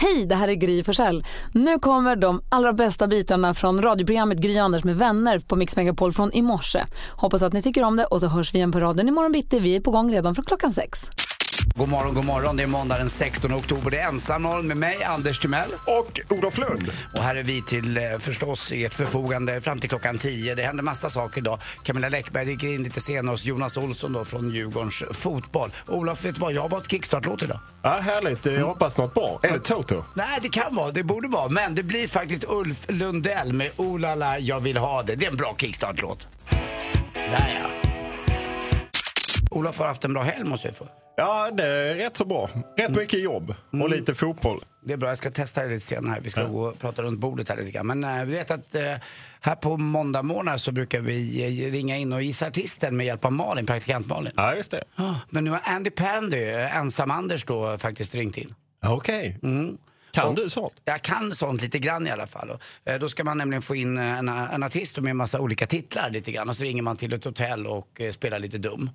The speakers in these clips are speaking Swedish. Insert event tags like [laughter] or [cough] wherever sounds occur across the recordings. Hej, det här är Gry Forssell. Nu kommer de allra bästa bitarna från radioprogrammet Gry Anders med vänner på Mix Megapol från i morse. Hoppas att ni tycker om det och så hörs vi igen på raden imorgon bitti. Vi är på gång redan från klockan sex. God morgon, god morgon. Det är måndag den 16 oktober. Det är ensamorgon med mig, Anders Timell. Och Olof Lund. Och här är vi till eh, förstås ert förfogande fram till klockan 10. Det händer massa saker idag. Camilla Läckberg gick in lite senare hos Jonas Olsson då från Djurgårdens fotboll. Olof, vet du vad? Jag har valt kickstart-låt idag. Ja, härligt. Jag hoppas något bra. Är det Toto? Nej, det kan vara, det borde vara. Men det blir faktiskt Ulf Lundell med Oh la la, jag vill ha det. Det är en bra kickstart-låt. Där ja. Olof har haft en bra helg måste jag få. Ja, det är rätt så bra. Rätt mycket jobb och lite fotboll. Det är bra, jag ska testa det lite senare. Vi ska gå och prata runt bordet här lite grann. Men eh, vi vet att eh, här på måndag morgnar så brukar vi eh, ringa in och gissa artisten med hjälp av Malin, praktikant Malin. Ja, just det. Ah, Men nu har Andy Pandy, eh, ensam-Anders då, faktiskt ringt in. Okej. Kan du sånt? Jag kan sånt lite grann i alla fall. Och, eh, då ska man nämligen få in eh, en, en artist med en massa olika titlar lite grann. Och så ringer man till ett hotell och eh, spelar lite dum.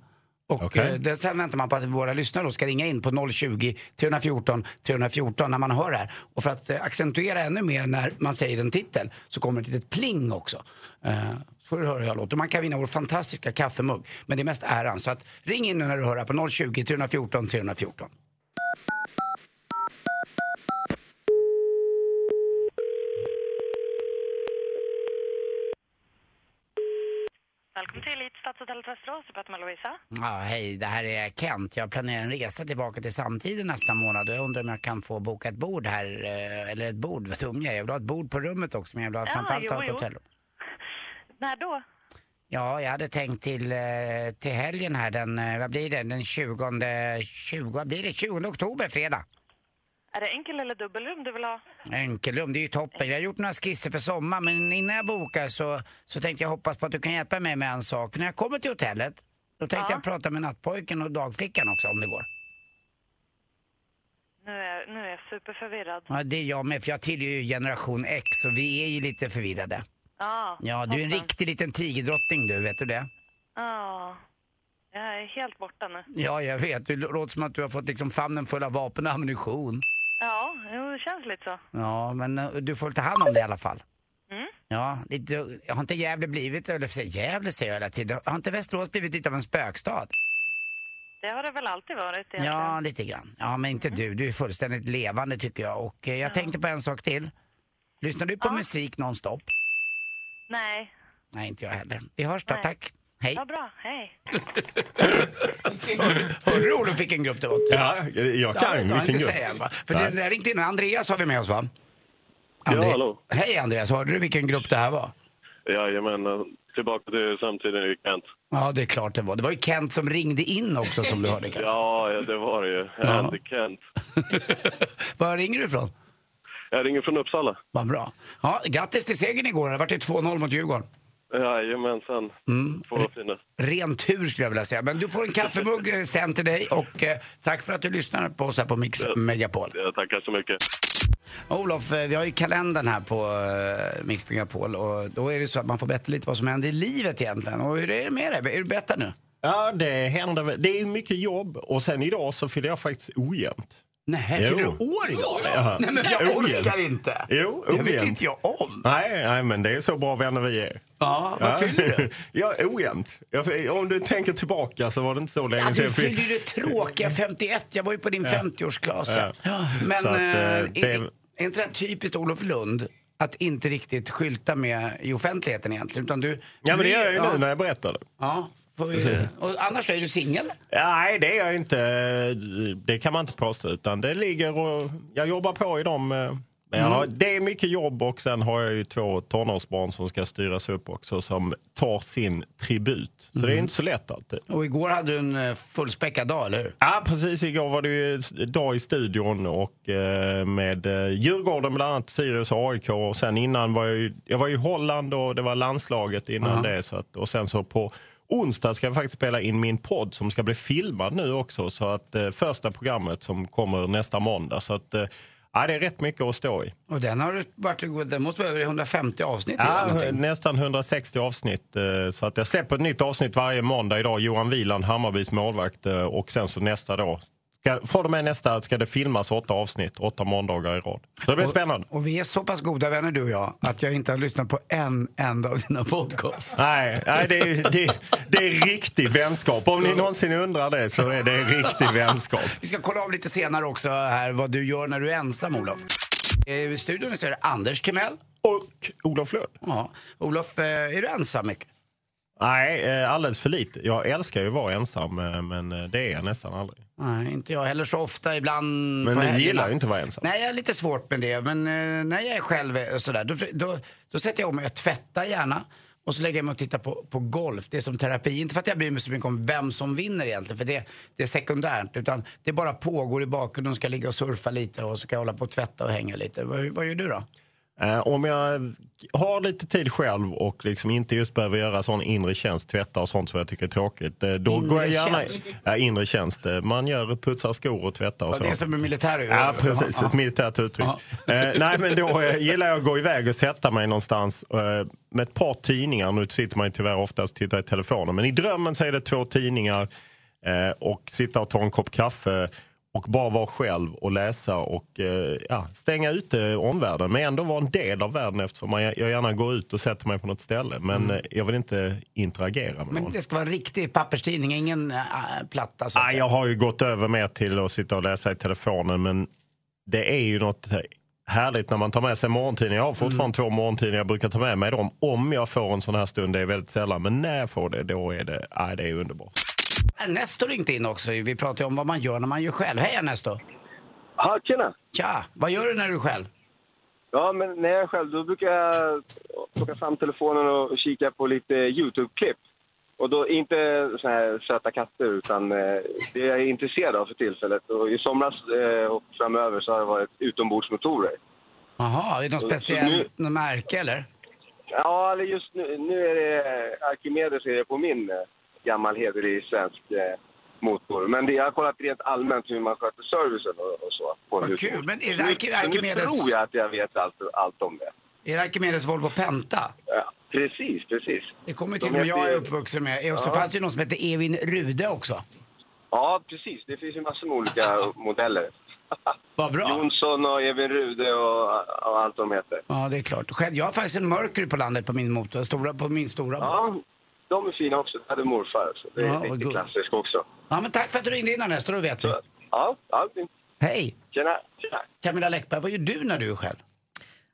Och Okej. eh, det, sen väntar man på att våra lyssnare då ska ringa in på 020 314 314 när man hör det här. Och för att eh, accentuera ännu mer när man säger en titel så kommer ett litet pling också. Eh, så får du höra hur jag låter. Man kan vinna vår fantastiska kaffemugg. Men det är mest äran. Så att ring in nu när du hör det här på 020 314 314. Välkommen till Elit Stadshotellet Västerås. Jag pratar med Lovisa. Ja, hej, det här är Kent. Jag planerar en resa tillbaka till samtiden nästa månad och jag undrar om jag kan få boka ett bord här, eh, eller ett bord, vad dum jag är. Jag vill ha ett bord på rummet också men jag vill ha Ja, framförallt jo, ha ett jo. hotellrum. När då? Ja, jag hade tänkt till, eh, till helgen här den, eh, vad blir det, den 20, 20, vad blir det, 20 oktober, fredag. Är det enkel eller dubbelrum du vill ha? Enkelrum, det är ju toppen. Jag har gjort några skisser för sommar men innan jag bokar så, så tänkte jag hoppas på att du kan hjälpa mig med en sak. För när jag kommer till hotellet, då tänkte Ja. jag prata med nattpojken och dagflickan också om det går. Nu är, nu är jag superförvirrad. Ja, det är jag med, för jag tillhör ju generation X och vi är ju lite förvirrade. Ja, Ja, du är en toppen. riktig liten tigerdrottning du, vet du det? Ja, jag är helt borta nu. Ja, jag vet. Det låter som att du har fått liksom famnen full av vapen och ammunition. Ja, jo, det känns lite så. Ja, men eh, du får ta hand om det i alla fall. Mm. Ja, lite, har inte Gävle blivit, eller för sig, Gävle säger jag hela tiden, har inte Västerås blivit lite av en spökstad? Det har det väl alltid varit egentligen. Ja, lite grann. Ja, men Mm. inte du. Du är fullständigt levande tycker jag. Och eh, jag tänkte på en sak till. Lyssnar du på Ja. musik nonstop? Nej, Nej, inte jag heller. Vi hörs då, Nej. tack. Hej. vad bra. Hej. [laughs] Hörde du Olof vilken grupp det var? Ja, jag Ja, kan. det har jag Vilken inte grupp. säga än, va? För det Nej. där ringde in. Andreas har vi med oss va? Ja, hallå. Hej Andreas, hörde du vilken grupp det här var? Jajamän, tillbaka till samtiden i Kent. Ja, det är klart det var. Det var ju Kent som ringde in också som du hörde kanske. Ja, ja, det var det ju. Ja. Andy Kent. [laughs] Var ringer du ifrån? Jag ringer från Uppsala. Vad bra. Ja, grattis till segern igår. Det vart ju 2-0 mot Djurgården. Jajamensan. Mm. Två fina. Ren tur skulle jag vilja säga. Men du får en kaffemugg eh, sen till dig och eh, tack för att du lyssnar på oss här på Mix Megapol. Jag tackar så mycket. Olof, eh, vi har ju kalendern här på eh, Mix Megapol och då är det så att man får berätta lite vad som händer i livet egentligen. Och hur är det med dig? Är du bättre nu? Ja, det händer väl. Det är mycket jobb och sen idag så fyller jag faktiskt ojämnt. Nej, Jo. fyller du år idag? Ja. Nej men jag Ojämnt. orkar inte. Jo, det vet ojämnt. inte jag om. Nej, nej, men det är så bra vänner vi är. Ja, vad fyller du? [laughs] Ja, ojämnt. Jag, om du tänker tillbaka så var det inte så länge Ja, sedan du jag fyllde- fyller ju det tråkiga 51. Jag var ju på din 50-årsklass. Ja. Men Så att, eh, eh, är, det- det... är inte det här typiskt Olof Lund att inte riktigt skylta med i offentligheten egentligen? Utan du... Ja, men det gör jag ju ja, nu när jag berättar det. Ja, får vi... och annars är du singel? Nej, det är jag inte. Det kan man inte påstå. Utan det ligger och jag jobbar på i dem. eh, Men jag har, det är mycket jobb och sen har jag ju två tonårsbarn som ska styras upp också som tar sin tribut. Så det är inte så lätt alltid. Och igår hade du en eh, fullspäckad dag, eller hur? Ja, precis. Igår var det ju s- dag i studion och eh, med eh, Djurgården bland annat, Sirius och AIK. Och sen innan var jag ju, jag var ju i Holland och det var landslaget innan det. Så att, och sen så på onsdag ska jag faktiskt spela in min podd som ska bli filmad nu också. Så att eh, första programmet som kommer nästa måndag. Så att, eh, ja, det är rätt mycket att stå i. Och den har du varit... Den måste vara över 150 avsnitt. eller Ja, någonting. nästan 160 avsnitt. eh, Så att jag släpper ett nytt avsnitt varje måndag idag. Johan Wieland, Hammarbys målvakt. eh, Och sen så nästa dag Ska, från och med nästa ska det filmas åtta avsnitt, åtta måndagar i rad. Så det blir spännande. Och vi är så pass goda vänner du och jag att jag inte har lyssnat på en enda av dina podcasts. Nej, nej det, är, det, det är riktig vänskap. Om ni någonsin undrar det så är det en riktig vänskap. Vi ska kolla av lite senare också här vad du gör när du är ensam Olof. Eh, I studion så är det Anders Timell. Och Olof Lund? Ja. Olof, eh, är du ensam mycket? Nej, eh, alldeles för lite. Jag älskar ju att vara ensam, eh, men eh, det är jag nästan aldrig. Nej, inte jag heller så ofta. Ibland Men på du helgerna. gillar ju inte att vara ensam. Nej, jag är lite svårt med det. Men eh, när jag är själv eh, sådär, då, då, då sätter jag om mig. Jag tvättar gärna. Och så lägger jag mig och tittar på, på golf. Det är som terapi. Inte för att jag bryr mig så mycket om vem som vinner egentligen. För det, det är sekundärt. Utan det bara pågår i bakgrunden. Ska jag ligga och surfa lite och så kan jag hålla på och tvätta och hänga lite. Vad, vad gör du då? Eh, Om jag har lite tid själv och liksom inte just behöver göra sån inre tjänst, tvätta och sånt som jag tycker är tråkigt. eh, Då Inre går jag gärna, tjänst? Ja, inre tjänst. eh, Man gör, putsar skor och tvättar och Ja, så. det är som en militär Ja, precis. Ett militärt uttryck. Ja. Eh, nej, men då eh, gillar jag att gå iväg och sätta mig någonstans eh, med ett par tidningar. Nu sitter man ju tyvärr oftast och tittar i telefonen. Men i drömmen så är det två tidningar eh, och sitta och ta en kopp kaffe och bara vara själv och läsa och eh, ja, stänga ute omvärlden. Men ändå vara en del av världen eftersom man, jag gärna går ut och sätter mig på något ställe. Men eh, jag vill inte interagera med Mm. Men någon. det ska vara en riktig papperstidning, ingen äh, platta så att Ah, säga. jag har ju gått över mer till att sitta och läsa i telefonen men det är ju något härligt när man tar med sig morgontidningar. Jag har fortfarande Mm. två morgontidningar, jag brukar ta med mig dem om jag får en sån här stund. Det är väldigt sällan, men när jag får det då är det, ah, det är underbart. Ernesto ringde in också. Vi pratade ju om vad man gör när man gör själv. Hej Ernesto! Ja, tjena! Tja! Vad gör du när du är själv? Ja, men när jag är själv då brukar jag plocka fram telefonen och kika på lite YouTube-klipp. Och då inte så här söta katter, utan eh, det jag är intresserad av för tillfället. Och I somras eh, och framöver så har det varit utombordsmotorer. Jaha, är det något Så speciellt nu- något märke eller? Ja, eller just nu, nu är det Arkimedes är det på min eh, gammal hederlig svensk eh, motor. Men det, jag har kollat rent allmänt hur man sköter servicen och, och så. På en Vad kul, husbil. men är det Så nu- Arki- Arkimedes- Nu tror jag att jag vet allt, allt om det. Är det Arkimedes Volvo Penta? Ja, precis, precis. Det kommer ju De till och med heter jag ju- är uppvuxen med. Och så Ja. fanns det ju någon som hette Evin Rude också. Ja, precis. Det finns ju massor med olika modeller. Vad bra! Jonsson och Evin Rude och, och allt de heter. Ja, det är klart. Själv, jag har faktiskt en Mercury på landet på min motor, stora, på min stora. Ja. Ja, de är fina också. Det hade morfar. Så det är Ja, vad lite gott. klassiskt också. ja, men tack för att du ringde in Ernesto, då vet vi. Ja, ja. Hej! Tjena. Tjena. Camilla Läckberg, vad gör du när du är själv?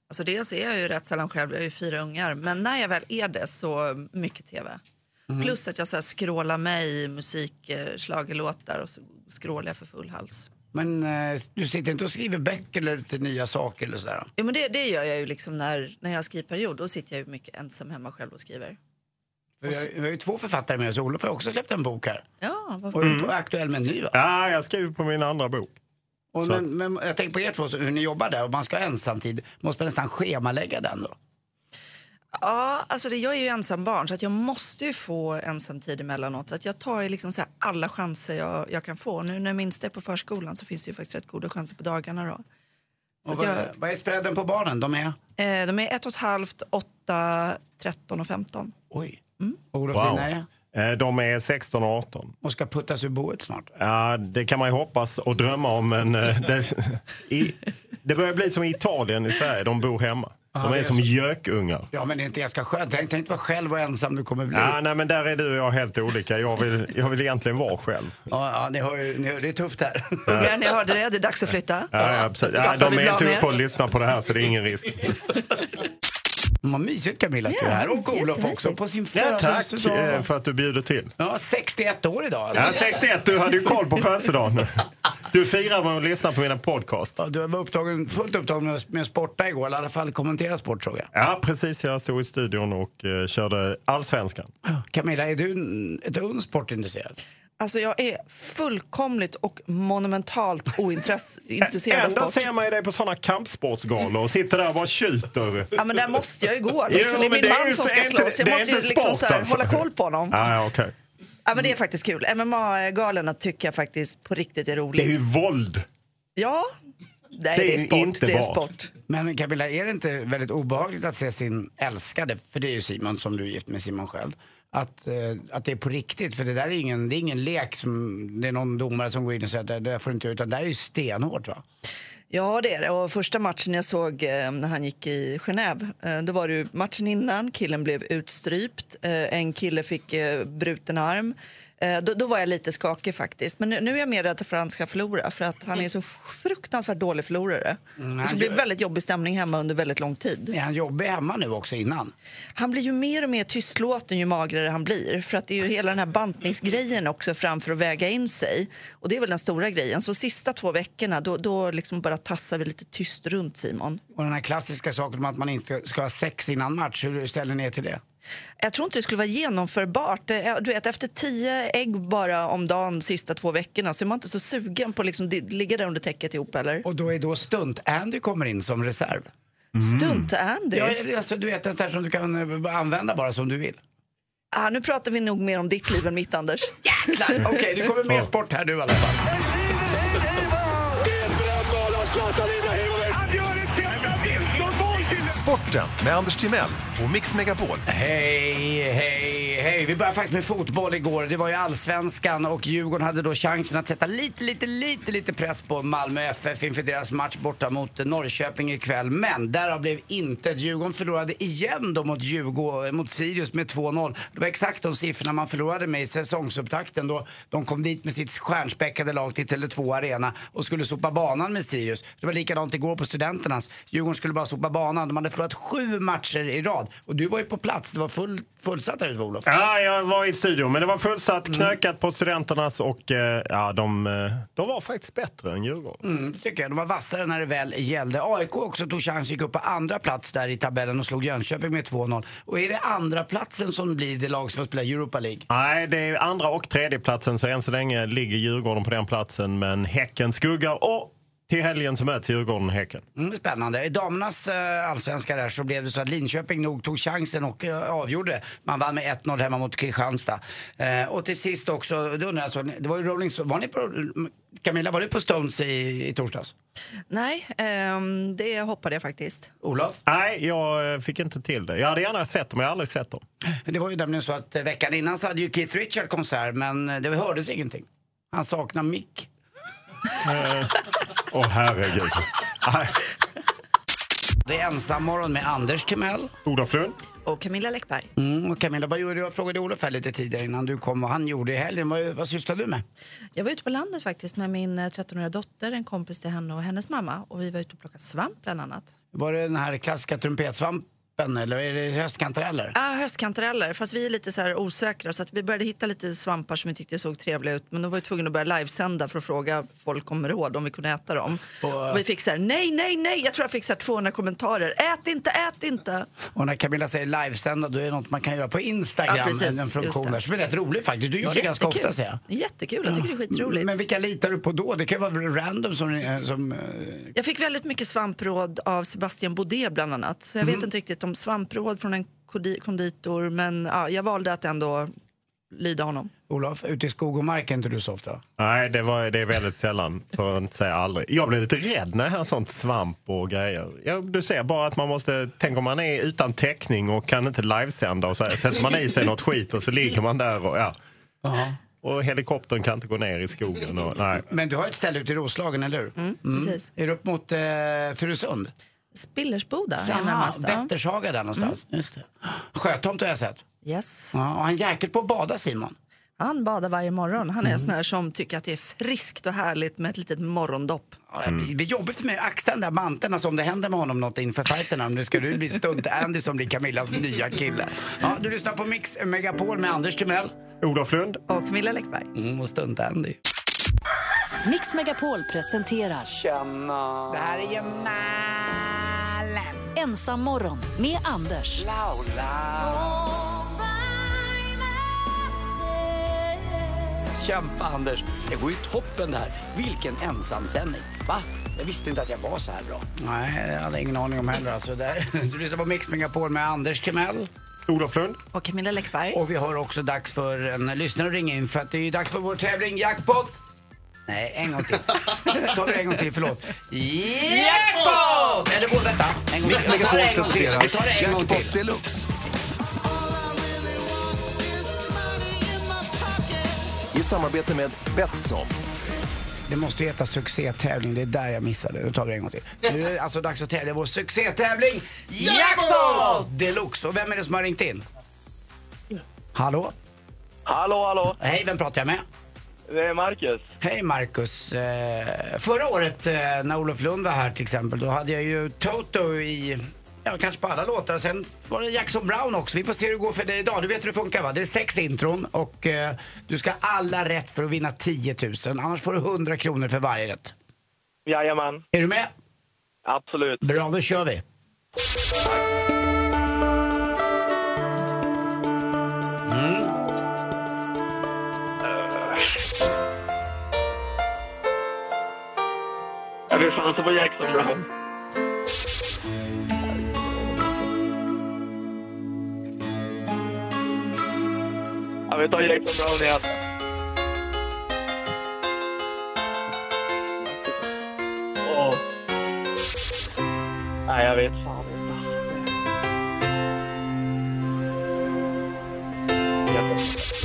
Alltså dels är jag ju rätt sällan själv, jag har ju fyra ungar. Men när jag väl är det så mycket tv. Plus att jag så här scrollar med i musik, eh, schlagerlåtar och så scrollar jag för full hals. Men eh, du sitter inte och skriver böcker eller till nya saker eller sådär? Jo, men det, det gör jag ju liksom när, när jag har skrivperiod. Då sitter jag ju mycket ensam hemma själv och skriver. Vi har, vi har ju två författare med oss. Olof har också släppt en bok här. Ja, vad Och är Mm. på aktuell med en ny va? Ah, jag skriver på min andra bok. Och Så- men, men jag tänker på er två, så hur ni jobbar där. Och man ska ha ensamtid. Måste man nästan schemalägga den då? Ja, alltså det, jag är ju ensambarn så att jag måste ju få ensamtid emellanåt. Så Att jag tar ju liksom så här alla chanser jag, jag kan få. Nu när minsta är på förskolan så finns det ju faktiskt rätt goda chanser på dagarna då. Så Och att vad, jag, vad är spreaden på barnen? De är? eh, de är ett och ett halvt, åtta, 13 och 15. Oj. Och Olof, Mm. Wow. dina är? Eh, De är 16 och 18. Och ska puttas ur boet snart. Ja, det kan man ju hoppas och drömma om, men eh, det, [laughs] i, det börjar bli som i Italien i Sverige, de bor hemma. De det är är som så. gökungar. Ja men det är inte ganska skönt. Tänk, tänk vad själv och ensam du kommer bli. Ja, Ja, nej, men där är du och jag helt olika. Jag vill, jag vill egentligen vara själv. ja ni hör ju, ni hör, det är tufft här. [laughs] Ungar, ni hörde det, det är dags att flytta. Ja, ja, absolut. Ja, Tappar de vi är inte bland uppe er? och lyssnar på det här så det är ingen risk. Vad mysigt Camilla att du är Ja, här. Och Olof jättemysigt. också på sin Ja, tack födelsedag. eh, Ja, för att du bjuder till. 61 år idag. Ja, Alltså. 61, du hade ju koll på födelsedagen. Du firar med att lyssna på mina podcast. Ja, du var upptagen, fullt upptagen med att- med att sporta igår. Eller i alla fall kommentera sport såg jag. Ja, precis. Jag stod i studion och eh, körde allsvenskan. Camilla, är du en- ett uns sportintresserad? Alltså jag är fullkomligt och monumentalt ointresserad av Ändå sport. ser man ju dig på sådana kampsportsgalor och sitter där och bara tjuter. Ja, men där måste jag ju gå. Liksom. det men är det min är ju man som så ska ändå- slåss. Jag det är måste ju inte liksom sport, så här, alltså. hålla koll på honom. Ah, ja, okej. Ja, men det är faktiskt kul. MMA-galorna tycker jag faktiskt på riktigt Det är är roligt. ju våld. Ja, Nej, Det det är är sport. inte det är bra. sport. Men Camilla, är det inte väldigt obehagligt att se sin älskade, för det är ju Simon som du är gift med, Simon Sköld, att, eh, att det är på riktigt? För det där är ingen, det är ingen lek som det är någon domare som går in och säger att det där får du inte göra", utan det där är ju stenhårt va? Ja, det är det. Och första matchen jag såg eh, när han gick i Genève, eh, då var det ju matchen innan. Killen blev utstrypt. Eh, en kille fick eh, bruten arm. Eh, då, då var jag lite skakig faktiskt. Men nu, nu är jag mer rädd för att han ska förlora för att han är så fruktansvärt dålig förlorare. han så det blir gör- väldigt jobbig stämning hemma under väldigt lång tid. Är han jobbig hemma nu också innan? Han blir ju mer och mer tystlåten ju magrare han blir. För att det är ju hela den här bantningsgrejen också framför att väga in sig. Och det är väl den stora grejen. Så sista två veckorna då, då liksom bara tassar vi lite tyst runt Simon. Och den här klassiska saken om att man inte ska ha sex innan match, hur ställer ni er till det? Jag tror inte det skulle vara genomförbart. Det är- Du vet, efter tio ägg bara om dagen sista två veckorna så är man inte så sugen på att liksom di- ligga där under täcket ihop eller? Och då är då stunt-Andy kommer in som reserv. Stunt-Andy. Ja, alltså, du vet en sån här som du kan eh, använda bara som du vill. Ah, nu pratar vi nog mer om ditt liv än mitt, Anders. Jäklar! Okej, du kommer med sport här nu i alla fall. Sporten med Anders Timell och Mix Megapol. Hej, hej, hej. Vi började faktiskt med fotboll igår. Det var ju allsvenskan och Djurgården hade då chansen att sätta lite, lite, lite, lite press på Malmö FF inför deras match borta mot Norrköping ikväll. Men därav blev intet. Djurgården förlorade igen då mot, Djurgården, mot Sirius med 2-0. Det var exakt de siffrorna man förlorade med i säsongsupptakten då de kom dit med sitt stjärnspäckade lag till Tele2 Arena och skulle sopa banan med Sirius. Det var likadant igår på Studenternas. Djurgården skulle bara sopa banan. De hade förlorat sju matcher i rad. Och du var ju på plats. Det var full, fullsatt där ute, Olof. Ja, jag var i studion, men det var fullsatt, knökat på studenternas och eh, ja, de, eh, de var faktiskt bättre än Djurgården. Mm, det tycker jag. De var vassare när det väl gällde. AIK också tog chans, gick upp på andra plats där i tabellen och slog Jönköping med 2-0. Och är det andra platsen som blir det lag som spelar Europa League? Nej, det är andra och tredje platsen så än så länge ligger Djurgården på den platsen, men Häcken skuggar och till helgen så möts Djurgården och Häcken. Mm, spännande. I damernas eh, allsvenska där så blev det så att Linköping nog tog chansen och eh, avgjorde. Man vann med 1-0 hemma mot Kristianstad. Eh, och till sist också, då undrar jag, så, det var ju Rolling Stones. Var ni på, Camilla, var du på Stones i, i torsdags? Nej, ehm, det hoppade jag faktiskt. Olof? Nej, jag eh, fick inte till det. Jag hade gärna sett dem, men jag har aldrig sett dem. Det var ju nämligen så att eh, veckan innan så hade ju Keith Richard konsert men eh, det hördes ingenting. Han saknar mick. Åh herregud. Nej. Det är ensam morgon med Anders Timell. Ola Flund? Och Camilla Läckberg. Mm, och Camilla, vad gjorde du? Jag frågade Olof här lite tidigare innan du kom vad han gjorde i helgen. Vad, vad sysslar du med? Jag var ute på landet faktiskt med min eh, 13-åriga dotter, en kompis till henne och hennes mamma. Och vi var ute och plockade svamp bland annat. Var det den här klassiska trumpetsvampen eller är det höstkantareller? Ah, höstkantareller, fast vi är lite så här osäkra så att vi började hitta lite svampar som vi tyckte såg trevliga ut. Men då var vi tvungna att börja livesända för att fråga folk om råd om vi kunde äta dem. Och- Och vi fick så här, nej, nej, nej, jag tror jag fick så här 200 kommentarer. Ät inte, ät inte. Och när Camilla säger livesända, då är det något man kan göra på Instagram. Ja, precis. en Just funktion det. där som är rätt rolig faktiskt. Du gör det ganska ofta ser jag. Jättekul, jag tycker det är skitroligt. Men vilka litar du på då? Det kan ju vara random som... eh, som eh, Jag fick väldigt mycket svampråd av Sebastian Baudet bland annat. Så jag vet inte riktigt om svampråd från en kodi- konditor men ja, jag valde att ändå lyda honom. Olof, ute i skog och mark är inte du så ofta? Nej, det, var, det är väldigt sällan, för att inte säga aldrig. Jag blir lite rädd när jag hör sånt svamp och grejer. Ja, du ser bara att man måste, tänk om man är utan täckning och kan inte livesända och så här, sätter man i sig något skit och så ligger man där och ja. Och helikoptern kan inte gå ner i skogen. Och, nej. Men du har ett ställe ute i Roslagen, eller hur? Mm, Mm. Precis. Är du upp mot eh, Furusund? Spillersboda är Jaha, närmast. ja. Mm, Vättershaga där någonstans. Just det. Sjötomt har jag sett. Yes. Ja, och han jäkligt på att bada, Simon. Han badar varje morgon. Han är en sån här som tycker att det är friskt och härligt med ett litet morgondopp. Ja, Det blir jobbigt för mig att axla den där manteln alltså, om det händer med honom något inför fighten. Om det ska du bli stunt-Andy som blir Camillas nya kille. Ja, du lyssnar på Mix Megapol med Anders Timell Olof Lund? Och Camilla Läckberg. mm, och stunt-Andy. Mix Megapol presenterar Det här är ju Malen. Ensam morgon med Anders. Kämpa Anders, det går ju toppen det här. Vilken ensamsändning. Va? Jag visste inte att jag var så här bra. Nej, jag hade ingen aning om heller. Alltså, där. [laughs] Du lyssnar på Mix Megapol med Anders Timell. Olof Lund? Och Camilla Läckberg. Och vi har också dags för en lyssnare att ringa in för att det är ju dags för vår tävling Jackpot Nej, en gång [laughs] till. Ta det en gång till, förlåt. Jackpot! Eller båda, vänta. En gång till. Vi tar det en gång till. Vi tar det en gång Jackpot till. deluxe. I samarbete med Betsson. Det måste ju heta succétävling, det är där jag missade. Nu tar vi det en gång till. Nu är det alltså dags att tävla i vår succétävling Jackpot! Deluxe. Och vem är det som har ringt in? Hallå? Hallå, hallå! Hej, vem pratar jag med? Det är Marcus. Hej Marcus. Eh, Förra året eh, när Olof Lund var här till exempel, då hade jag ju Toto i, ja kanske på alla låtar. Sen var det Jackson Brown också. Vi får se hur det går för dig idag. Du vet hur det funkar va? Det är sex intron och eh, du ska ha alla rätt för att vinna 10 000. Annars får du 100 kronor för varje rätt. Jajamän, Är du med? absolut. Bra, då kör vi. Jag vill chansa på Jackson Brown. Ja, vi tar Jackson Brown igen. Åh. Nej, jag vet fan inte. Jag vet inte.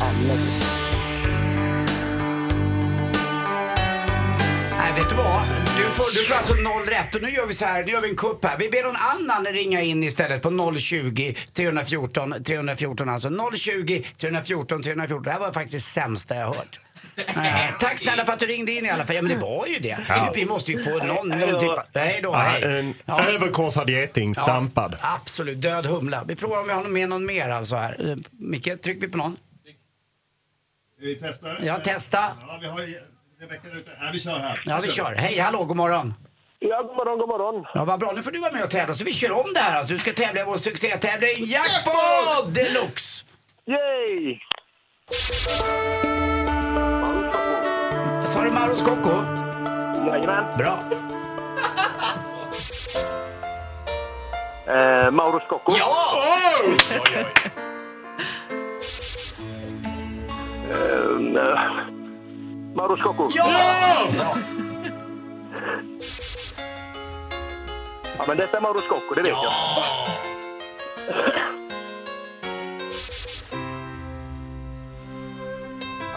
Nej, vet du vad? Du får, du får alltså noll rätt. Och nu gör vi så här, nu gör vi en kupp här. Vi ber någon annan ringa in istället på 020 314 314 alltså. 020 314 314. Det här var faktiskt sämsta jag hört. Eh, tack snälla för att du ringde in i alla fall. Ja men det var ju det. Vi, vi måste ju få någon, någon typ av... Hej då, hej. En överkorsad geting, stampad. Ja, absolut, död humla. Vi provar om vi har med någon mer alltså här. Eh, Micke, trycker vi på någon? Vi testar. Ja, testa. Ja, vi har Rebecka ute. Nej, vi kör här. Ja, vi kör. Hej, hallå, god morgon. Ja, god morgon, god morgon. Ja, vad bra. Nu får du vara med och tävla. Så vi kör om det här. Alltså, du ska tävla i vår succétävling Jackpot Deluxe. Yay! Sa du Maros Koko? Jajamän. Bra. Eh, Mauro Scocco. Ja! Eh, Mauro Scocco. Ja! Ja, men detta är Mauro Scocco, det vet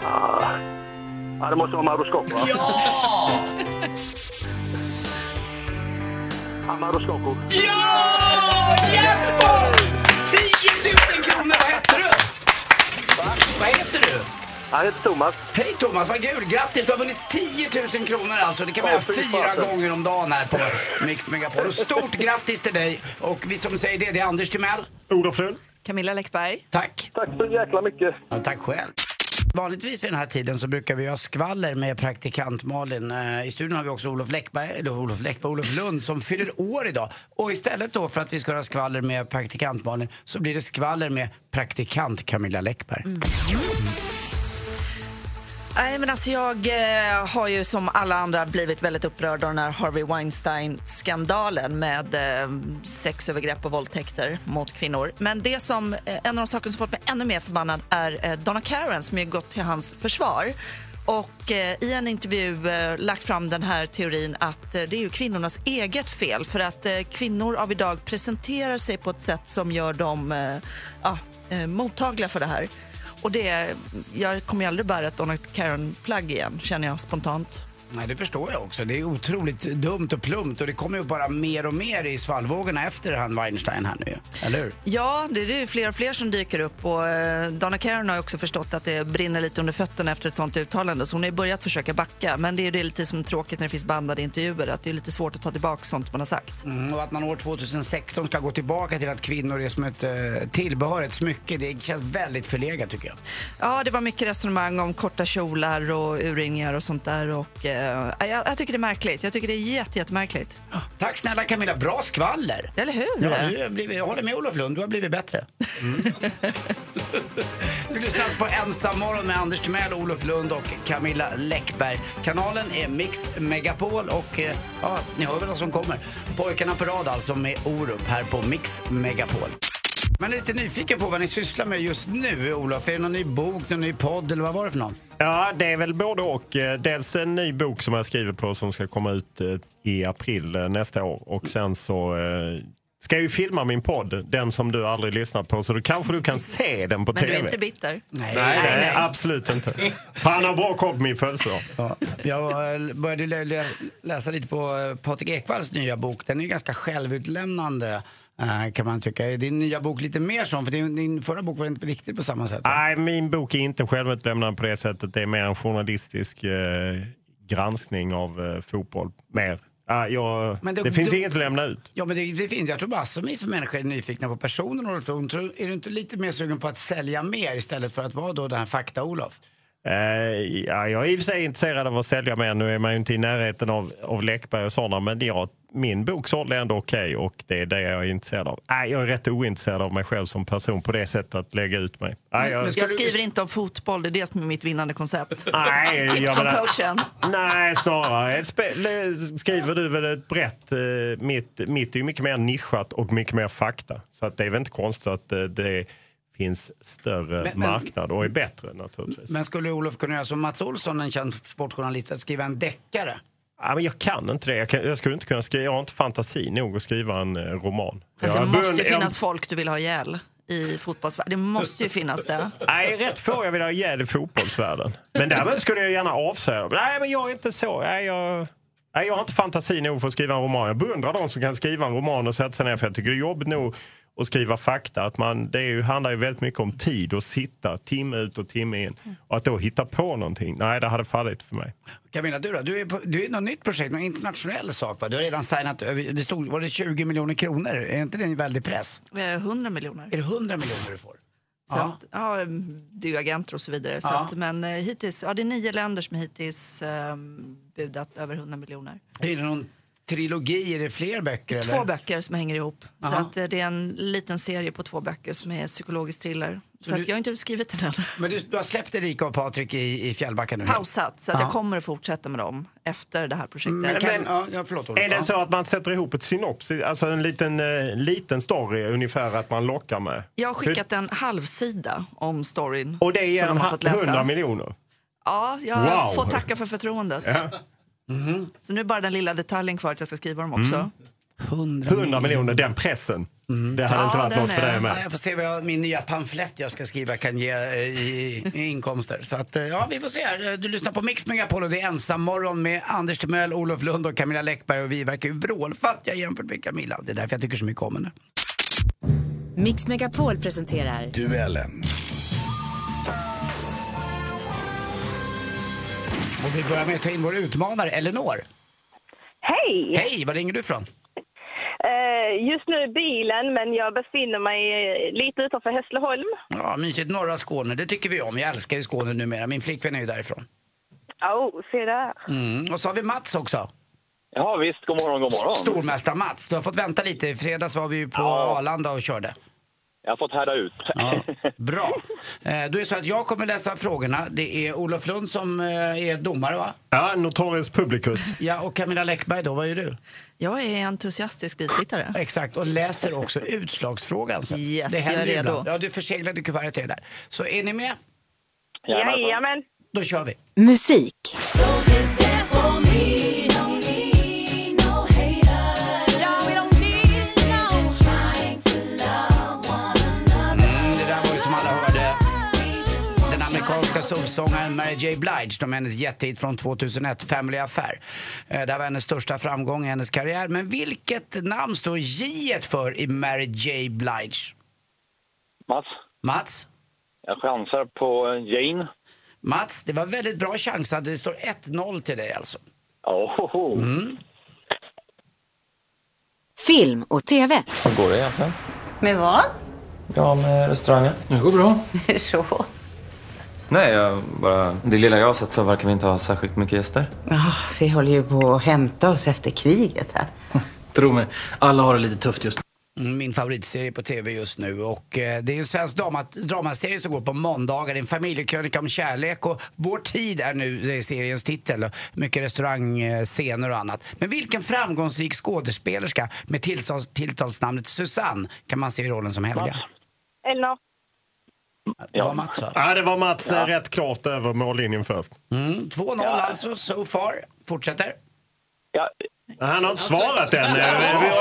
jag. Ah. Ja, det måste vara Mauro Scocco, va? Ja! Ja, Mauro Scocco. Ja! Jackpot! 10 000 kronor! Vad heter du? Vad heter du? Han heter Thomas. Hej Thomas, vad kul! Grattis, du har vunnit 10 000 kronor alltså. Det kan man Ja, göra fy fyra fasen. gånger om dagen här på Mix Megapol. Och stort grattis till dig! Och vi som säger det, det är Anders Timell. Olof Lund. Camilla Läckberg. Tack! Tack så jäkla mycket. Ja, tack själv. Vanligtvis vid den här tiden så brukar vi ha skvaller med praktikant Malin. Eh, I studion har vi också Olof Läckberg, eller Olof Läckberg, Olof Lund som fyller år idag. Och istället då för att vi ska ha skvaller med praktikant Malin så blir det skvaller med praktikant Camilla Läckberg. Nej, men alltså jag eh, har ju som alla andra blivit väldigt upprörd av den här Harvey Weinstein-skandalen med eh, sexövergrepp och våldtäkter mot kvinnor. Men det som, eh, en av de saker som fått mig ännu mer förbannad är eh, Donna Karen som ju gått till hans försvar och eh, i en intervju eh, lagt fram den här teorin att eh, det är ju kvinnornas eget fel för att eh, kvinnor av idag presenterar sig på ett sätt som gör dem eh, ja, eh, mottagliga för det här. Och det, jag kommer ju aldrig bära ett Donna Karen-plagg igen, känner jag spontant. Nej, det förstår jag också. Det är otroligt dumt och plumpt och det kommer ju bara mer och mer i svallvågorna efter han Weinstein här nu ju. Eller hur? Ja, det är ju fler och fler som dyker upp och eh, Donna Karen har ju också förstått att det brinner lite under fötterna efter ett sånt uttalande så hon har ju börjat försöka backa. Men det är ju det lite som är tråkigt när det finns bandade intervjuer att det är lite svårt att ta tillbaka sånt man har sagt. Mm, och att man år 2016 ska gå tillbaka till att kvinnor är som ett eh, tillbehör, ett smycke, det känns väldigt förlegat tycker jag. Ja, det var mycket resonemang om korta kjolar och urringningar och sånt där och eh, jag, jag tycker det är märkligt. Jag tycker det är jätte, jättemärkligt. Tack snälla Camilla, bra skvaller! Eller hur? Ja, du har blivit, jag håller med Olof Lund, du har blivit bättre. du lyssnar alltså på Ensam morgon med Anders Timell, Olof Lund och Camilla Läckberg. Kanalen är Mix Megapol och eh, ja, ni hör väl vad som kommer. Pojkarna på rad alltså med Orup här på Mix Megapol. Man är lite nyfiken på vad ni sysslar med just nu, Olof. Är det någon ny bok, någon ny podd eller vad var det för någon? Ja, det är väl både och. Eh, Dels en ny bok som jag skriver på som ska komma ut eh, i april eh, nästa år. Och sen så eh, ska jag ju filma min podd, den som du aldrig lyssnar på. Så då kanske du kan se den på Men tv. du är inte bitter? Nej, nej, absolut inte. För han har bra koll på min födelsedag. Ja, jag eh, började lä- lä- läsa lite på eh, Patrik Ekwalls nya bok. Den är ju ganska självutlämnande eh, kan man tycka. Är din nya bok lite mer sån? För din, din förra bok var inte riktigt på samma sätt. Nej, min bok är inte självutlämnande på det sättet. Det är mer en journalistisk eh, granskning av eh, fotboll. Mer. Ah, jag, Men det, då- finns då- inget att lämna ut. Ja, men det, det finns. Jag tror massor av människor är nyfikna på personen Olof. Hon tror- Är du inte lite mer sugen på att sälja mer istället för att vara då den här fakta-Olof? Eh, ja, jag är i och för sig intresserad av att sälja mer. Nu är man ju inte i närheten av, av Läckberg och sådana. Men ja, min bok sålde ändå okej och det är det jag är intresserad av. Nej, jag är rätt ointresserad av mig själv som person på det sättet att lägga ut mig. Nej, jag, Jag skriver inte om fotboll, det är det som är mitt vinnande koncept. Nej, jag Tips från menar- coachen. Nej, snarare ett spe- le- skriver du väl ett brett... eh, Mitt, mitt är ju mycket mer nischat och mycket mer fakta. Så att det är väl inte konstigt att eh, det finns större Men- men- marknad och är bättre naturligtvis. Men skulle Olof kunna göra som Mats Olsson, en känd sportjournalist, att skriva en deckare? Ja, men jag kan inte det. Jag, kan, jag skulle inte kunna skriva. Jag har inte fantasi nog att skriva en eh, roman. Fast jag har det måste ju börjat- finnas folk du vill ha ihjäl i fotbollsvärlden. Det måste ju finnas det. Nej, rätt få jag vill ha ihjäl i fotbollsvärlden. Men däremot skulle jag gärna avsäga mig. Nej, men jag är inte så. Nej, jag... Nej, jag har inte fantasi nog för att skriva en roman. Jag beundrar de som kan skriva en roman och sätta sig ner. För jag tycker det är jobbigt nog att skriva fakta. Att man, det är ju, handlar ju väldigt mycket om tid och sitta timme ut och timme in. Och att då hitta på någonting. Nej, det hade fallit för mig. Camilla, du då? Du är, på, du är något nytt projekt, någon internationell sak va? Du har redan signat, över- det stod, var det 20 miljoner kronor? Är inte det en väldig press? Eh, 100 miljoner. Är det 100 miljoner du får? Så Ja. att, ja, det är ju agenter och så vidare. Så Ja. att, men eh, hittills, ja, det är nio länder som hittills eh, budat över 100 miljoner. Är det någon trilogi? Är det fler böcker? Två eller? böcker som hänger ihop. Så Aha. att, eh, det är en liten serie på två böcker som är psykologisk thriller. Så, du- att jag har inte skrivit den än. Men du, du har släppt Erika och Patrik i, i Fjällbacka nu? Pausat, så att Ja. jag kommer att fortsätta med dem efter det här projektet. Men kan, ja, ja, förlåt Olof. Är det Ja. så att man sätter ihop ett synopsis, alltså en liten, eh, liten story ungefär att man lockar med? Jag har skickat en halv sida om storyn Och det är som en de har ha- fått läsa. 100 miljoner? Ja, jag Wow. får tacka för förtroendet. Så nu är bara den lilla detaljen kvar att jag ska skriva dem också. Mm. 100 100 miljoner, den pressen. Det hade Ja, inte varit den något för är- dig Ja, med. jag får se vad jag, min nya pamflett jag ska skriva kan ge eh, i, i inkomster. Så att, eh, ja, vi får se. här. Eh, Du lyssnar på Mix Megapol och det är ensammorgon med Anders Timell, Olof Lund och Camilla Läckberg. Och vi verkar ju vrålfattiga jämfört med Camilla. Det är därför jag tycker så mycket om henne. Mix Megapol presenterar Duellen. Och vi börjar med att ta in vår utmanare Elinor. Hej! Hej, var ringer du ifrån? Eh, just nu i bilen, men jag befinner mig eh, lite utanför Hässleholm. Ja, mysigt. Norra Skåne, det tycker vi om. Jag älskar ju Skåne numera. Min flickvän är ju därifrån. Åh, se där. Mm. Och så har vi Mats också. Ja visst, god morgon, god morgon. Stormästare Mats. Du har fått vänta lite. I fredags var vi ju på Arlanda och körde. Jag har fått härda ut. Ja, bra. Eh, Då är det så att jag kommer läsa frågorna. Det är Olof Lund som eh, är domare, va? Ja, Notorius Publicus. Ja, och Camilla Läckberg då, vad är du? Jag är entusiastisk bisittare. Exakt, och läser också utslagsfrågan sen. Yes, Det händer jag är ju redo. ibland. Ja, du förseglade kuvertet till det där. Så är ni med? Jajamän. Då kör vi. musik. Mm, det där var ju som alla hörde. Den amerikanska soulsångaren Mary J. Blige, de är hennes jättehit från 2001, Family Affair. Eh, Det här var hennes största framgång i hennes karriär. Men vilket namn står J för i Mary J. Blige? [laughs] Mats, Mats? jag chansar på eh, Jane. Mats, det var väldigt bra chansat. Det står 1-0 till dig alltså. Oh, Film och TV. Hur går det egentligen? Med vad? Ja, med restaurangen. Det går bra. Så. Nej, jag bara... Det lilla jag har sett så verkar vi inte ha särskilt mycket gäster. Ja, vi håller ju på att hämta oss efter kriget här. Tro mig, alla har det lite tufft just nu. Mm, Min favoritserie på tv just nu. Och eh, det är en svensk drama, dramaserie som går på måndagar. Det är en familjekrönika om kärlek. Och Vår tid är nu eh, seriens titel. Och Mycket restaurangscener och annat. Men vilken framgångsrik skådespelerska med tilltals, tilltalsnamnet Susanne kan man se i rollen som Helga? Elinor. Det var Mats va? Ja, det var Mats eh, rätt klart över mållinjen först. Mm, 2-0 alltså, so far. Fortsätter. Han har inte svarat än. Eh, vi-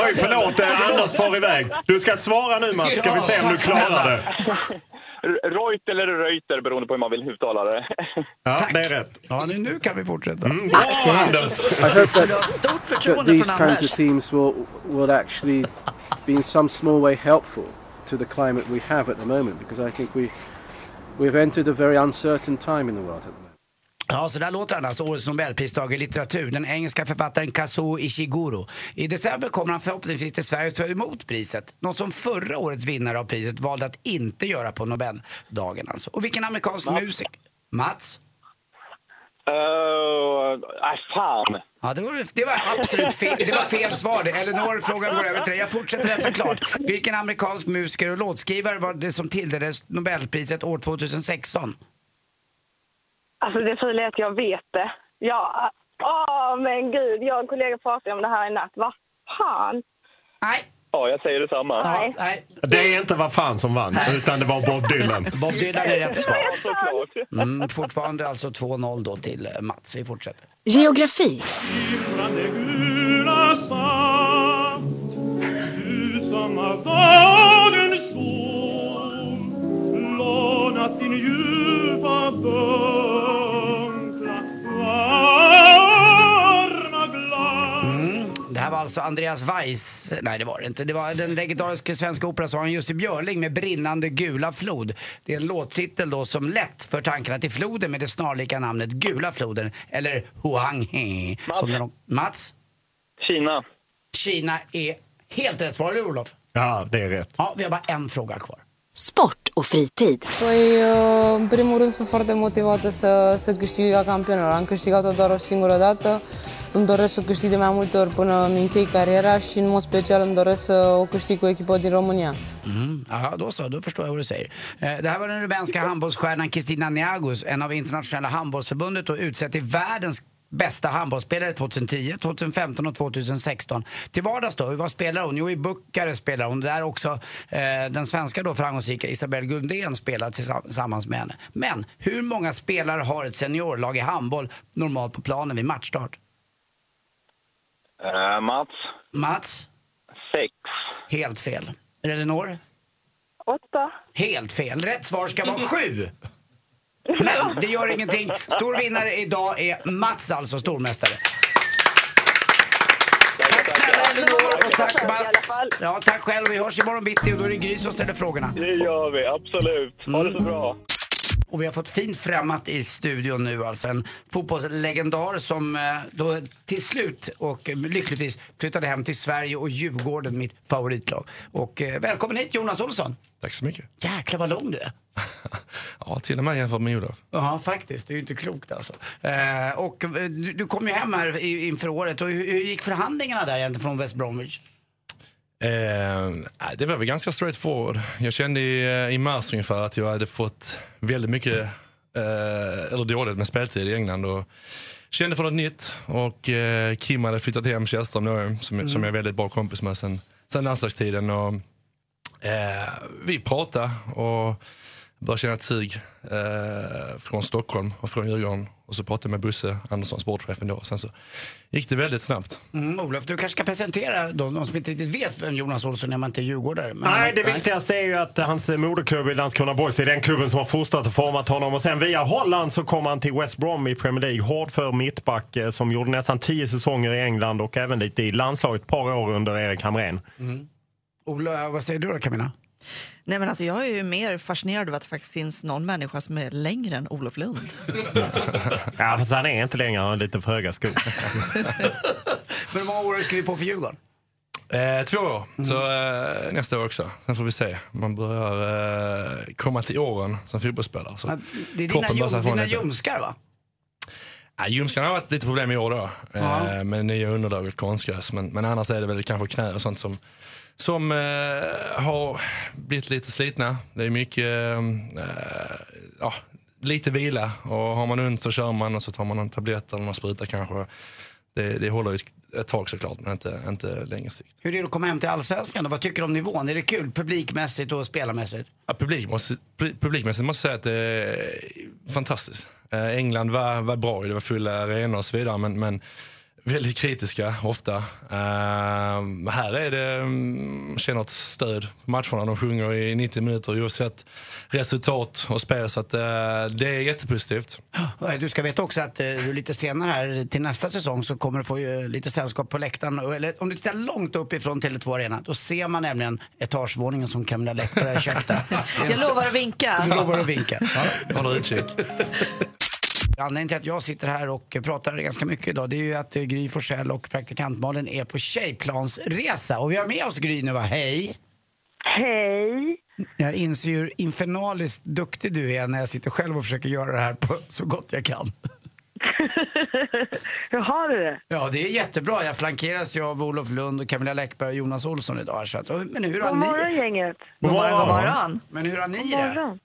Oj, förlåt. eh, Anders far iväg. Du ska svara nu Mats, ska vi se om du klarar det. Reut eller Reuter beroende på hur man vill uttala det. Ja, det är rätt. Ja, nu, nu kan vi fortsätta. Mm, bra, Anders. I hope [laughs] that, Stort that förtroende these från kinds of Anders. themes will, will actually be in some small way helpful to the climate we have at the moment because I think we, we've entered a very uncertain time in the world at the moment. Ja, så där låter han alltså, årets nobelpristagare i litteratur, den engelska författaren Kazuo Ishiguro. I december kommer han förhoppningsvis till Sverige för att ta emot priset. Något som förra årets vinnare av priset valde att inte göra på Nobeldagen alltså. Och vilken amerikansk musiker? Mats? Uh, nej, fan. Ja, det var, det var absolut fel, det var fel svar. Elinor, frågan går över till dig. Jag fortsätter läsa klart. Vilken amerikansk musiker och låtskrivare var det som tilldelades Nobelpriset år 2016? Alltså det fula är att jag vet det. Ja, åh men gud, jag och en kollega pratade om det här i natt. Vad fan? Ja, jag säger detsamma. Nej. Nej. Det är inte vad fan som vann, utan det var Bob Dylan. Bob Dylan är rätt svar. såklart. Mm, fortfarande alltså 2-0 då till eh, Mats. Vi fortsätter. Geografi. Det här var alltså Andreas Weiss, nej det var det inte. Det var den legendariska svenska operasångaren Jussi Björling med Brinnande gula flod. Det är en låttitel då som lätt för tankarna till floden med det snarlika namnet Gula floden, eller Huang He. Som den, Mats? Kina. Kina är helt rätt svar, eller Olof? Ja, det är rätt. Ja, vi har bara en fråga kvar. Sport och fritid. Păi, uh, în primul rând, sunt foarte motivată să, să câștig Liga Campionilor. Am câștigat-o doar o singură dată. Îmi doresc să o câștig de mai multe ori până îmi închei cariera și, în mod special, îmi doresc să o câștig cu o echipă din România. Mm, ja, då så, då förstår jag vad du säger. Eh, Det här var den rumänska handbollsstjärnan Kristina Niagos, en av internationella handbollsförbundet och utsedd till världens bästa handbollsspelare 2010, 2015 och 2016. Till vardags då, vad spelar hon? Jo, i Buckare spelar hon. Där också eh, den svenska då framgångsrika Isabelle Gundén spelar tillsamm- tillsammans med henne. Men hur många spelare har ett seniorlag i handboll normalt på planen vid matchstart? Eh, Mats. Mats? Sex. Helt fel. Elinor? Åtta. Helt fel. Rätt svar [laughs] ska vara sju. Men det gör ingenting. Stor vinnare idag är Mats alltså, stormästare. Tack snälla Elinor och tack Mats. Ja, tack själv. Vi hörs imorgon bitti och då är det Gry som ställer frågorna. Mm. Det gör vi, absolut. Ha det så bra. Och vi har fått fint främmat i studion nu alltså. En fotbollslegendar som eh, då till slut och eh, lyckligtvis flyttade hem till Sverige och Djurgården, mitt favoritlag. Och eh, välkommen hit Jonas Olsson. Tack så mycket. Jäklar vad lång du är. Ja, till och med jämfört med Olof. Ja, faktiskt. Det är ju inte klokt alltså. Eh, och eh, du, du kom ju hem här i, inför året. Och hur, hur gick förhandlingarna där egentligen från West Bromwich? Eh, nej, det var väl ganska straightforward. Jag kände i, i mars ungefär att jag hade fått väldigt mycket, eh, eller dåligt med speltid i England. Och kände för något nytt och eh, Kim hade flyttat hem Kjellström då, som, Mm. som jag är väldigt bra kompis med sen, sen landslagstiden. Och, eh, vi pratade och började känna ett sug eh, från Stockholm och från Djurgården. Och så pratade jag med Bosse Andersson, sportchefen då. Och sen så gick det väldigt snabbt. Mm, Olof, du kanske ska presentera de, de som inte riktigt vet vem Jonas Olsson är, man inte är djurgårdare. Men- Nej, det viktigaste är ju att hans moderklubb i Landskrona BoIS är den klubben som har fostrat och format honom. Och sen via Holland så kom han till West Brom i Premier League. Hård för mittback eh, som gjorde nästan tio säsonger i England och även lite i landslaget ett par år under Erik Hamrén. Ola, vad säger du då Camilla? Nej, men alltså, jag är ju mer fascinerad över att det faktiskt finns någon människa som är längre än Olof Lund. Ja, fast han är inte längre, han har lite för höga skor. Men hur många år har du skrivit på för Djurgården? Eh, två år, så eh, nästa år också. Sen får vi se. Man börjar eh, komma till åren som fotbollsspelare. Så Ja, Det är dina, kroppen börjar säga ljum, ifrån dina lite. ljumskar va? Ja, ljumskarna har varit lite problem i år då. Eh, med nya underlaget konstgräs. Men, men annars är det väl kanske knä och sånt som, som eh, har blivit lite slitna. Det är mycket, eh, eh, ja, lite vila. Och har man ont så kör man och så tar man en tablett eller någon spruta kanske. Det, det håller ju ett tag såklart, men inte, inte längre sikt. Hur är det att komma hem till Allsvenskan då? Vad tycker du om nivån? Är det kul publikmässigt och spelarmässigt? Ja, publik måste, pri- publikmässigt måste jag säga att det är fantastiskt. Eh, England var, var bra, det var fulla arenor och så vidare, men, men väldigt kritiska ofta. Eh, här är det, mm, känner ett stöd på matcherna. De sjunger i 90 minuter oavsett resultat och spel, så att, eh, det är jättepositivt. Eh, Du ska veta också att eh, du lite senare här till nästa säsong så kommer du få eh, lite sällskap på läktaren. Och- Eller om du tittar långt uppifrån Tele2 Arena, då ser man nämligen etagevåningen som Camilla Läckberg har köpt [laughs] där. Jag lovar att vinka. Du lovar att vinka. Jag håller utkik. Anledningen till att jag sitter här och pratar ganska mycket idag det är ju att eh, Gry Forssell och praktikant Malin är på tjejplansresa. Och vi har med oss Gry nu va? Hej! Hej! Jag inser ju hur infernaliskt duktig du är när jag sitter själv och försöker göra det här på så gott jag kan. Hur har du det? Ja, det är jättebra. Jag flankeras ju av Olof Lund och Camilla Läckberg och Jonas Olsson idag. här, Så att, men hur har God ni... morgon, gänget. God morgon. God morgon. Men hur har ni God det? morgon.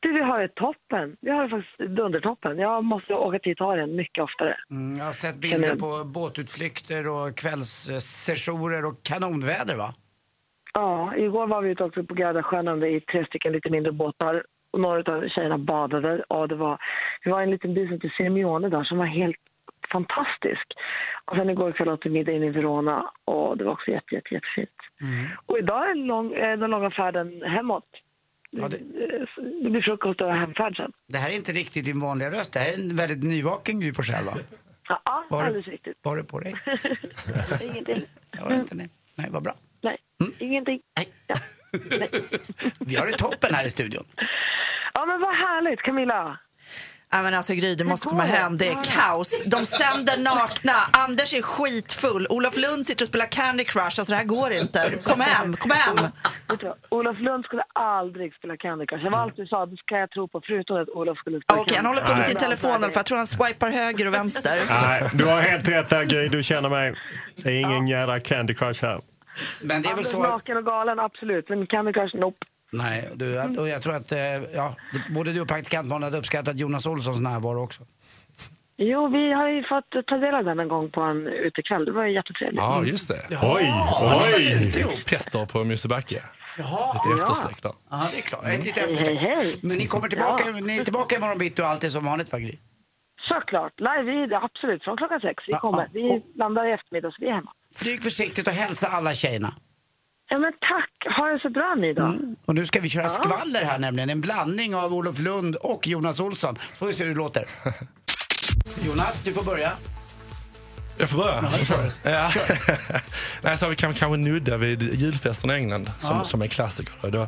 Du, vi har det toppen. Vi har det faktiskt dundertoppen. Jag måste åka till Italien mycket oftare. Mm, jag har sett bilder Kanon. på båtutflykter och kvällssessioner och kanonväder va? Ja, igår var vi ute också på Gardasjön i tre stycken lite mindre båtar. Och några av tjejerna badade och det var, det var en liten by som hette Sirmione där som var helt fantastisk. Och sen igår kväll åt vi middag in i Verona och det var också jätte, jätte, jättefint. Och idag är den, lång, eh, den långa färden hemåt. det... blir frukost och hemfärd sen. Det här är inte riktigt din vanliga röst. Det här är en väldigt nyvaken Gry Forssell va? Ja, Var- alldeles riktigt. [laughs] Vad har du på dig? Ingenting. Jag har inte det. Nej, vad bra. Nej, Mm. ingenting. [laughs] Vi har det toppen här i studion. Ja, men vad härligt, Camilla. Ja, men alltså Gry, du måste komma hem. Det är kaos. De sänder nakna. Anders är skitfull. Olof Lund sitter och spelar Candy Crush. Alltså det här går inte. Kom hem, kom hem. Vet du vad? Olof Lund skulle aldrig spela Candy Crush. Det var allt du sa, det ska jag tro på, förutom att Olof skulle spela Okej, han håller på med sin Crush. telefon i alla fall. Jag tror han swipar höger och vänster. Nej, du har helt rätt där Gry, du känner mig. Det är ingen jädra Candy Crush här. Men det är väl Anders så att... Naken och galen, absolut. Men Candy Crush, nope. Nej, du, och jag tror att eh, ja, både du och praktikant Malin hade uppskattat Jonas Olssons närvaro också. Jo, vi har ju fått ta del av den en gång på en utekväll. Det var ju jättetrevligt. Ja, just det. Oj, oj. Petter på Musebacke. Jaha, Lite eftersläck där. Ja, det är klart. Ett litet Hej, eftersläck. hej, hej. Men ni kommer tillbaka, ni är tillbaka imorgon bitti och allt är som vanligt va Gry? Såklart, live vi är det, absolut från klockan sex. Vi Ja, kommer. ja. Vi landar i eftermiddag så vi är hemma. Flyg försiktigt och hälsa alla tjejerna. Ja, men tack. Ha det så bra ni då. Ah, Och nu ska vi köra skvaller här nämligen. En blandning av Olof Lund och Jonas Olsson. Får vi se hur det [laughs] låter. Jonas, du får börja. Jag får börja? Ja. [laughs] Nej, så vi kan kanske nudda vid julfesten i England som, Ja. som är en klassiker. Då. Då,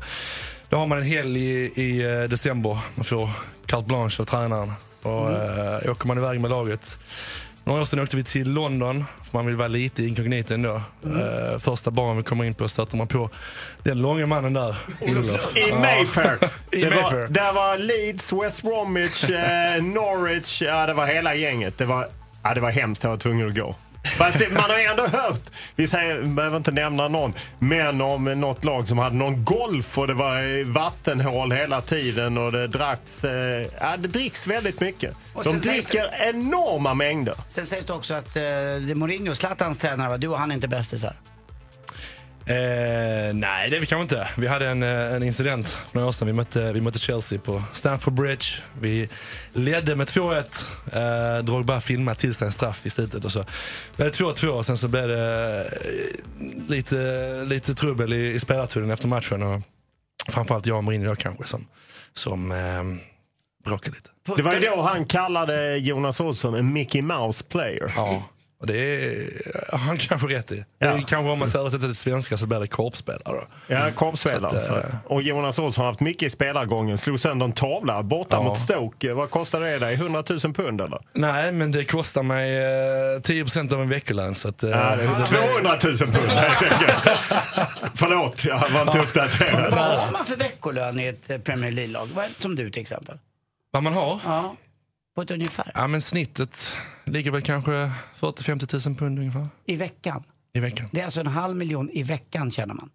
då har man en helg i, i eh, december. Man får carte blanche av tränaren. Och, eh, åker man iväg med laget. Några år sedan åkte vi till London, för man vill vara lite inkognito ändå. Eh, första baren vi kommer in på stöter man på den långa mannen där, Olof. I Ja. Mayfair. [laughs] I Det var- Mayfair. Där var Leeds, West Bromwich, eh, Norwich. Ja, det var hela gänget. Det var, ja, det var hemskt. Jag var tvungen att gå. Fast det- man har ju ändå hört, vi säger, behöver inte nämna någon, men om något lag som hade någon golf och det var eh, vattenhål hela tiden och det dracks, eh, ja, det dricks väldigt mycket. Och De sen sägs dricker enorma mängder. Sen sägs det också att eh, det är Mourinho, Zlatans tränare, va? du och han är inte bästisar. Eh, nej, det är vi kanske inte. Vi hade en, eh, en incident för några år sedan. Vi mötte, vi mötte Chelsea på Stamford Bridge. Vi ledde med 2-1. Eh, Drogba filmade till sig en straff i slutet. Och så blev det 2-2 och sen så blev det eh, lite, lite trubbel i, i spelarturen efter matchen. Och framförallt jag och Mourinho då kanske som, som eh, bråkade lite. Det var ju då han kallade Jonas Olsson en Mickey Mouse player. Ja, och det är, han kanske rätt i. Det är kanske om man ska översätta till svenska så blir det korpspelare. då. Ja, korpspelare. Så att, eh, så. Och Jonas Olsson har haft mycket i spelargången. Slog sönder en tavla borta Ja. mot Stoke. Vad kostade det dig? 100 000 pund eller? Nej, men det kostar mig eh, 10 av en veckolön. Så att, eh, Ja, det är 200 000 pund helt enkelt. Förlåt, jag var inte uppdaterad. Vad har man för veckolön i ett eh, Premier League-lag? Vad är det Som du till exempel. Vad man har? Ja, på ett ungefär. Ja, men snittet ligger väl kanske 40-50 000 pund ungefär I veckan. i veckan. Det är alltså en halv miljon i veckan känner man.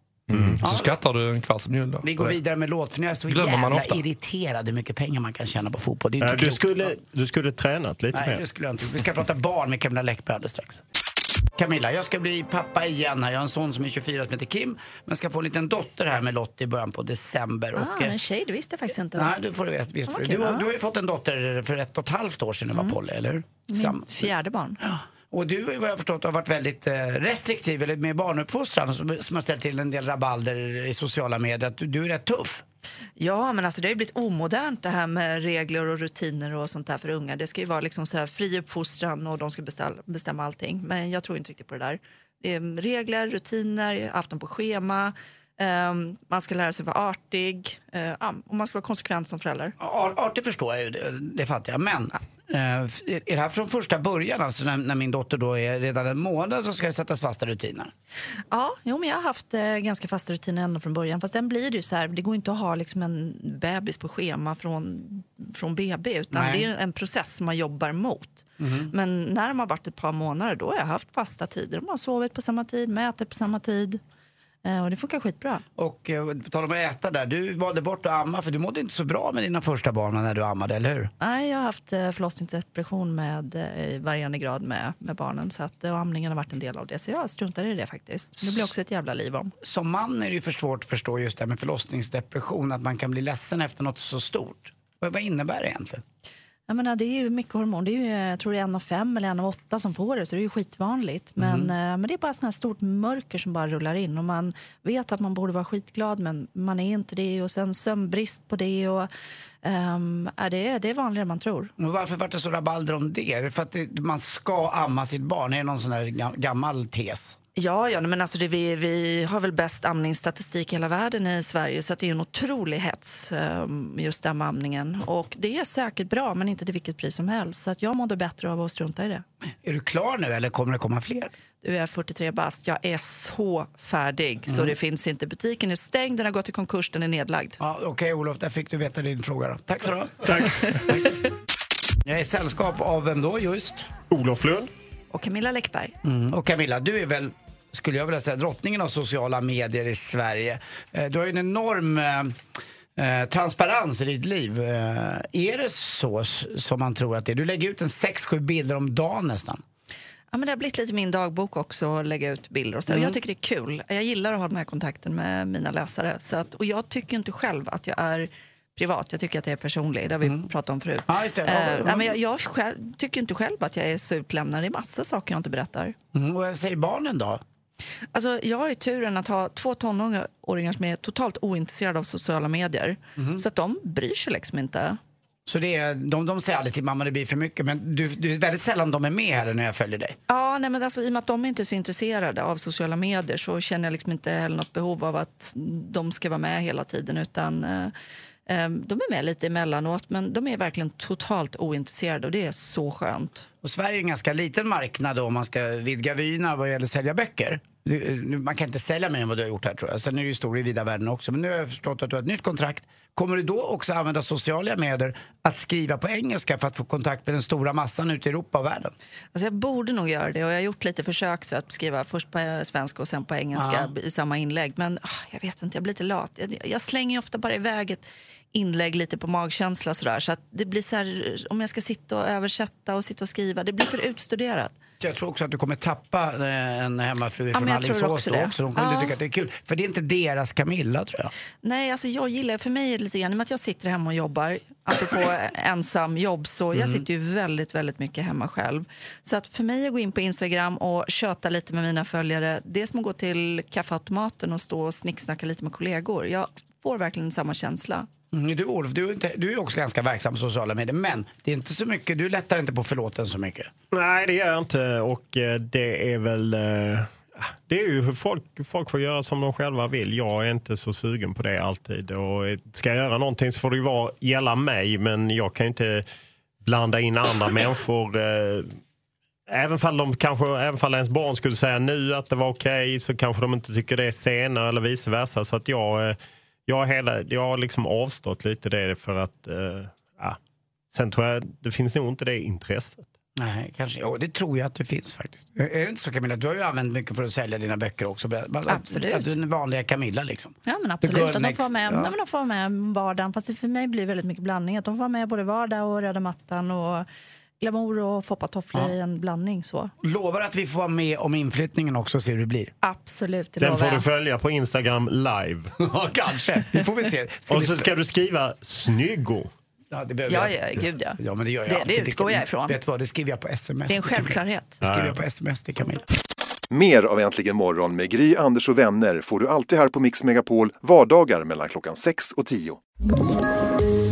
Så skattar du en kvarts miljon då. Vi går vidare med låt, för nu är jag så Glömmer man jävla ofta. irriterad hur mycket pengar man kan tjäna på fotboll. Det är inte Ja, Eh, Du klokt. skulle, du skulle tränat lite Nej, mer. det skulle jag inte. Vi ska prata barn med Camilla Läckberg alldeles strax. Camilla, jag ska bli pappa igen här. Jag har en son som är 24 som heter Kim. Men ska få en liten dotter här med Lottie i början på december. Ah, och, eh, en tjej, det visste jag faktiskt inte. Nej, du får du veta. Visst Ja, du. vad kul, Du, har- ja. du har ju fått en dotter för ett och ett halvt år sedan, mm. var Polly, eller hur? Sam- Min fjärde barn. Och du, vad jag har förstått, har varit väldigt eh, restriktiv eller med barnuppfostran som, som har ställt till en del rabalder i sociala medier. Att du, du är rätt tuff. Ja, men alltså det har ju blivit omodernt det här med regler och rutiner och sånt där för unga. Det ska ju vara liksom så här fri uppfostran och de ska beställa, bestämma allting. Men jag tror inte riktigt på det där. Det är mm, regler, rutiner, afton på schema. ehm, man ska lära sig vara artig eh, ja, och man ska vara konsekvent som förälder. Ar- artig förstår jag ju, det, det fattar jag. Men eh, f- är det här från första början, alltså när, när min dotter då är redan en månad så ska det sättas fasta rutiner? Ja, jo, men jag har haft eh, ganska fasta rutiner ända från början. Fast den blir det ju så här, det går inte att ha liksom en bebis på schema från, från BB utan Nej. det är en process man jobbar mot. Men när de har varit ett par månader då har jag haft fasta tider. De har sovit på samma tid, mätit på samma tid. Eh, och det funkar skitbra. Och eh, på tal om att äta där, du valde bort att amma för du mådde inte så bra med dina första barn när du ammade, eller hur? Nej, jag har haft eh, förlossningsdepression med, eh, i varierande grad med, med barnen så att, eh, och amningen har varit en del av det. Så jag struntar i det faktiskt. Det blir också ett jävla liv om. Som man är det ju för svårt att förstå just det här med förlossningsdepression, att man kan bli ledsen efter något så stort. Vad, vad innebär det egentligen? Jag menar, det är ju mycket hormon. Det är ju, jag tror det är en av fem eller en av åtta som får det, så det är ju skitvanligt. Men, Mhm. eh, men det är bara sånt här stort mörker som bara rullar in. Och man vet att man borde vara skitglad, men man är inte det. Och sen sömnbrist på det. Och, ehm, ja, det, är- det är vanligare än man tror. Och varför vart det så rabalder om det? Är det för att det, man ska amma sitt barn? Är det någon sån där ga- gammal tes? Ja, ja men alltså det, vi, vi har väl bäst amningsstatistik i hela världen i Sverige så att det är en otrolig hets, ehm, just den med amningen. Och det är säkert bra, men inte till vilket pris som helst. Så att jag mådde bättre av att strunta i det. Är du klar nu eller kommer det komma fler? Du är 43 bast, jag är så färdig så Mm. det finns inte. Butiken är stängd, den har gått i konkurs, den är nedlagd. Ja, Okej Olof, där fick du veta din fråga då. Tack så du ha. [laughs] Jag är i sällskap av vem då just? Olof Lund. Och Camilla Läckberg. Mm. Och Camilla, du är väl, skulle jag vilja säga, drottningen av sociala medier i Sverige. Eh, Du har ju en enorm eh, eh, transparens i ditt liv. Eh, är det så s- som man tror att det är? Du lägger ut en 6-7 bilder om dagen nästan. Ja, men det har blivit lite min dagbok också, att lägga ut bilder och så. där. Och Mm. Jag tycker det är kul. Jag gillar att ha den här kontakten med mina läsare. Så att, och jag tycker inte själv att jag är privat, jag tycker att jag är personlig. Det har vi pratat om förut. Mm. Ja, just det. Ja, Eh, ja. nej, men jag jag själv, tycker inte själv att jag är så utlämnad. Det är massa saker jag inte berättar. Mm. Och vad säger barnen då? Alltså, jag har ju turen att ha två tonåringar som är totalt ointresserade av sociala medier. Så att de bryr sig liksom inte. Så det är, de, de säger aldrig till mamma det blir för mycket, men du, du är väldigt sällan de är med heller när jag följer dig. Ja, nej, men alltså, I och med att de inte är så intresserade av sociala medier så känner jag liksom inte heller något behov av att de ska vara med hela tiden. Utan, eh, eh, de är med lite emellanåt, men de är verkligen totalt ointresserade och det är så skönt. Och Sverige är en ganska liten marknad då, om man ska vidga vyerna vad gäller sälja böcker. Du, nu- man kan inte sälja mer än vad du har gjort här tror jag. Sen är det ju stor i vida världen också. Men nu har jag förstått att du har ett nytt kontrakt. Kommer du då också använda sociala medier att skriva på engelska för att få kontakt med den stora massan ute i Europa och världen? Alltså, jag borde nog göra det och jag har gjort lite försök så att skriva först på eh, svenska och sen på engelska i samma inlägg. Men ah, jag vet inte, jag blir lite lat. Jag, jag slänger ju ofta bara iväg ett inlägg lite på magkänsla sådär. Så att det blir så här, om jag ska sitta och översätta och sitta och skriva, det blir för utstuderat. Jag tror också att du kommer tappa eh, en hemmafru Ja, från men jag tror Alingsås också då det. också. De kommer inte Ja. tycka att det är kul. För det är inte deras Camilla tror jag. Nej, alltså jag gillar, för mig är det lite grann, i och med att jag sitter hemma och jobbar, apropå ensam jobb, så jag Mm. sitter ju väldigt, väldigt mycket hemma själv. Så att för mig att gå in på Instagram och köta lite med mina följare, det är som att gå till kaffeautomaten och stå och snicksnacka lite med kollegor. Jag får verkligen samma känsla. Mm, du Olof, du är, inte, du är också ganska verksam på sociala medier. Men det är inte så mycket, du lättar inte på förlåten så mycket. Nej, det gör jag inte. Och eh, det är väl... eh, Det är ju hur folk, folk får göra som de själva vill. Jag är inte så sugen på det alltid. Och eh, ska jag göra någonting så får det ju vara, gälla mig, men jag kan ju inte blanda in andra människor. eh, Även fall, de kanske, även fall ens barn skulle säga nu att det var okej så kanske de inte tycker det senare eller vice versa. Så att jag, eh, jag, har hela, jag har liksom avstått lite det för att... eh, ja. Sen tror jag, det finns nog inte det intresset. Nej, kanske. Jo, det tror jag att det finns faktiskt. Är är det inte så Camilla? Du har ju använt mycket för att sälja dina böcker också. Bara- Absolut. Att du är den vanliga Camilla liksom. Ja men The absolut, girl att de next- får, vara med, ja. ja. men de får vara med om vardagen. Fast det för mig blir väldigt mycket blandning. Att de får vara med både vardag och röda mattan och glamour och foppatofflor i en blandning så. Lovar att vi får vara med om inflyttningen också och se hur det [laughs] blir. Absolut, det Den lovar får du jag. följa på Instagram live. Ja, kanske. [laughs] Det får vi se. Ska och vi- så ska du skriva snyggo. Ja, det behöver Ja, jag. ja, gud, ja. men det gör jag Det- det alltid. utgår jag ifrån. Vet du vad, det skriver jag på sms. Det är en till Camilla. självklarhet. Det skriver Ja, ja. jag på sms till Camilla. Mer av Äntligen morgon med Gry, Anders och vänner får du alltid här på Mix Megapol vardagar mellan klockan 6 och 10.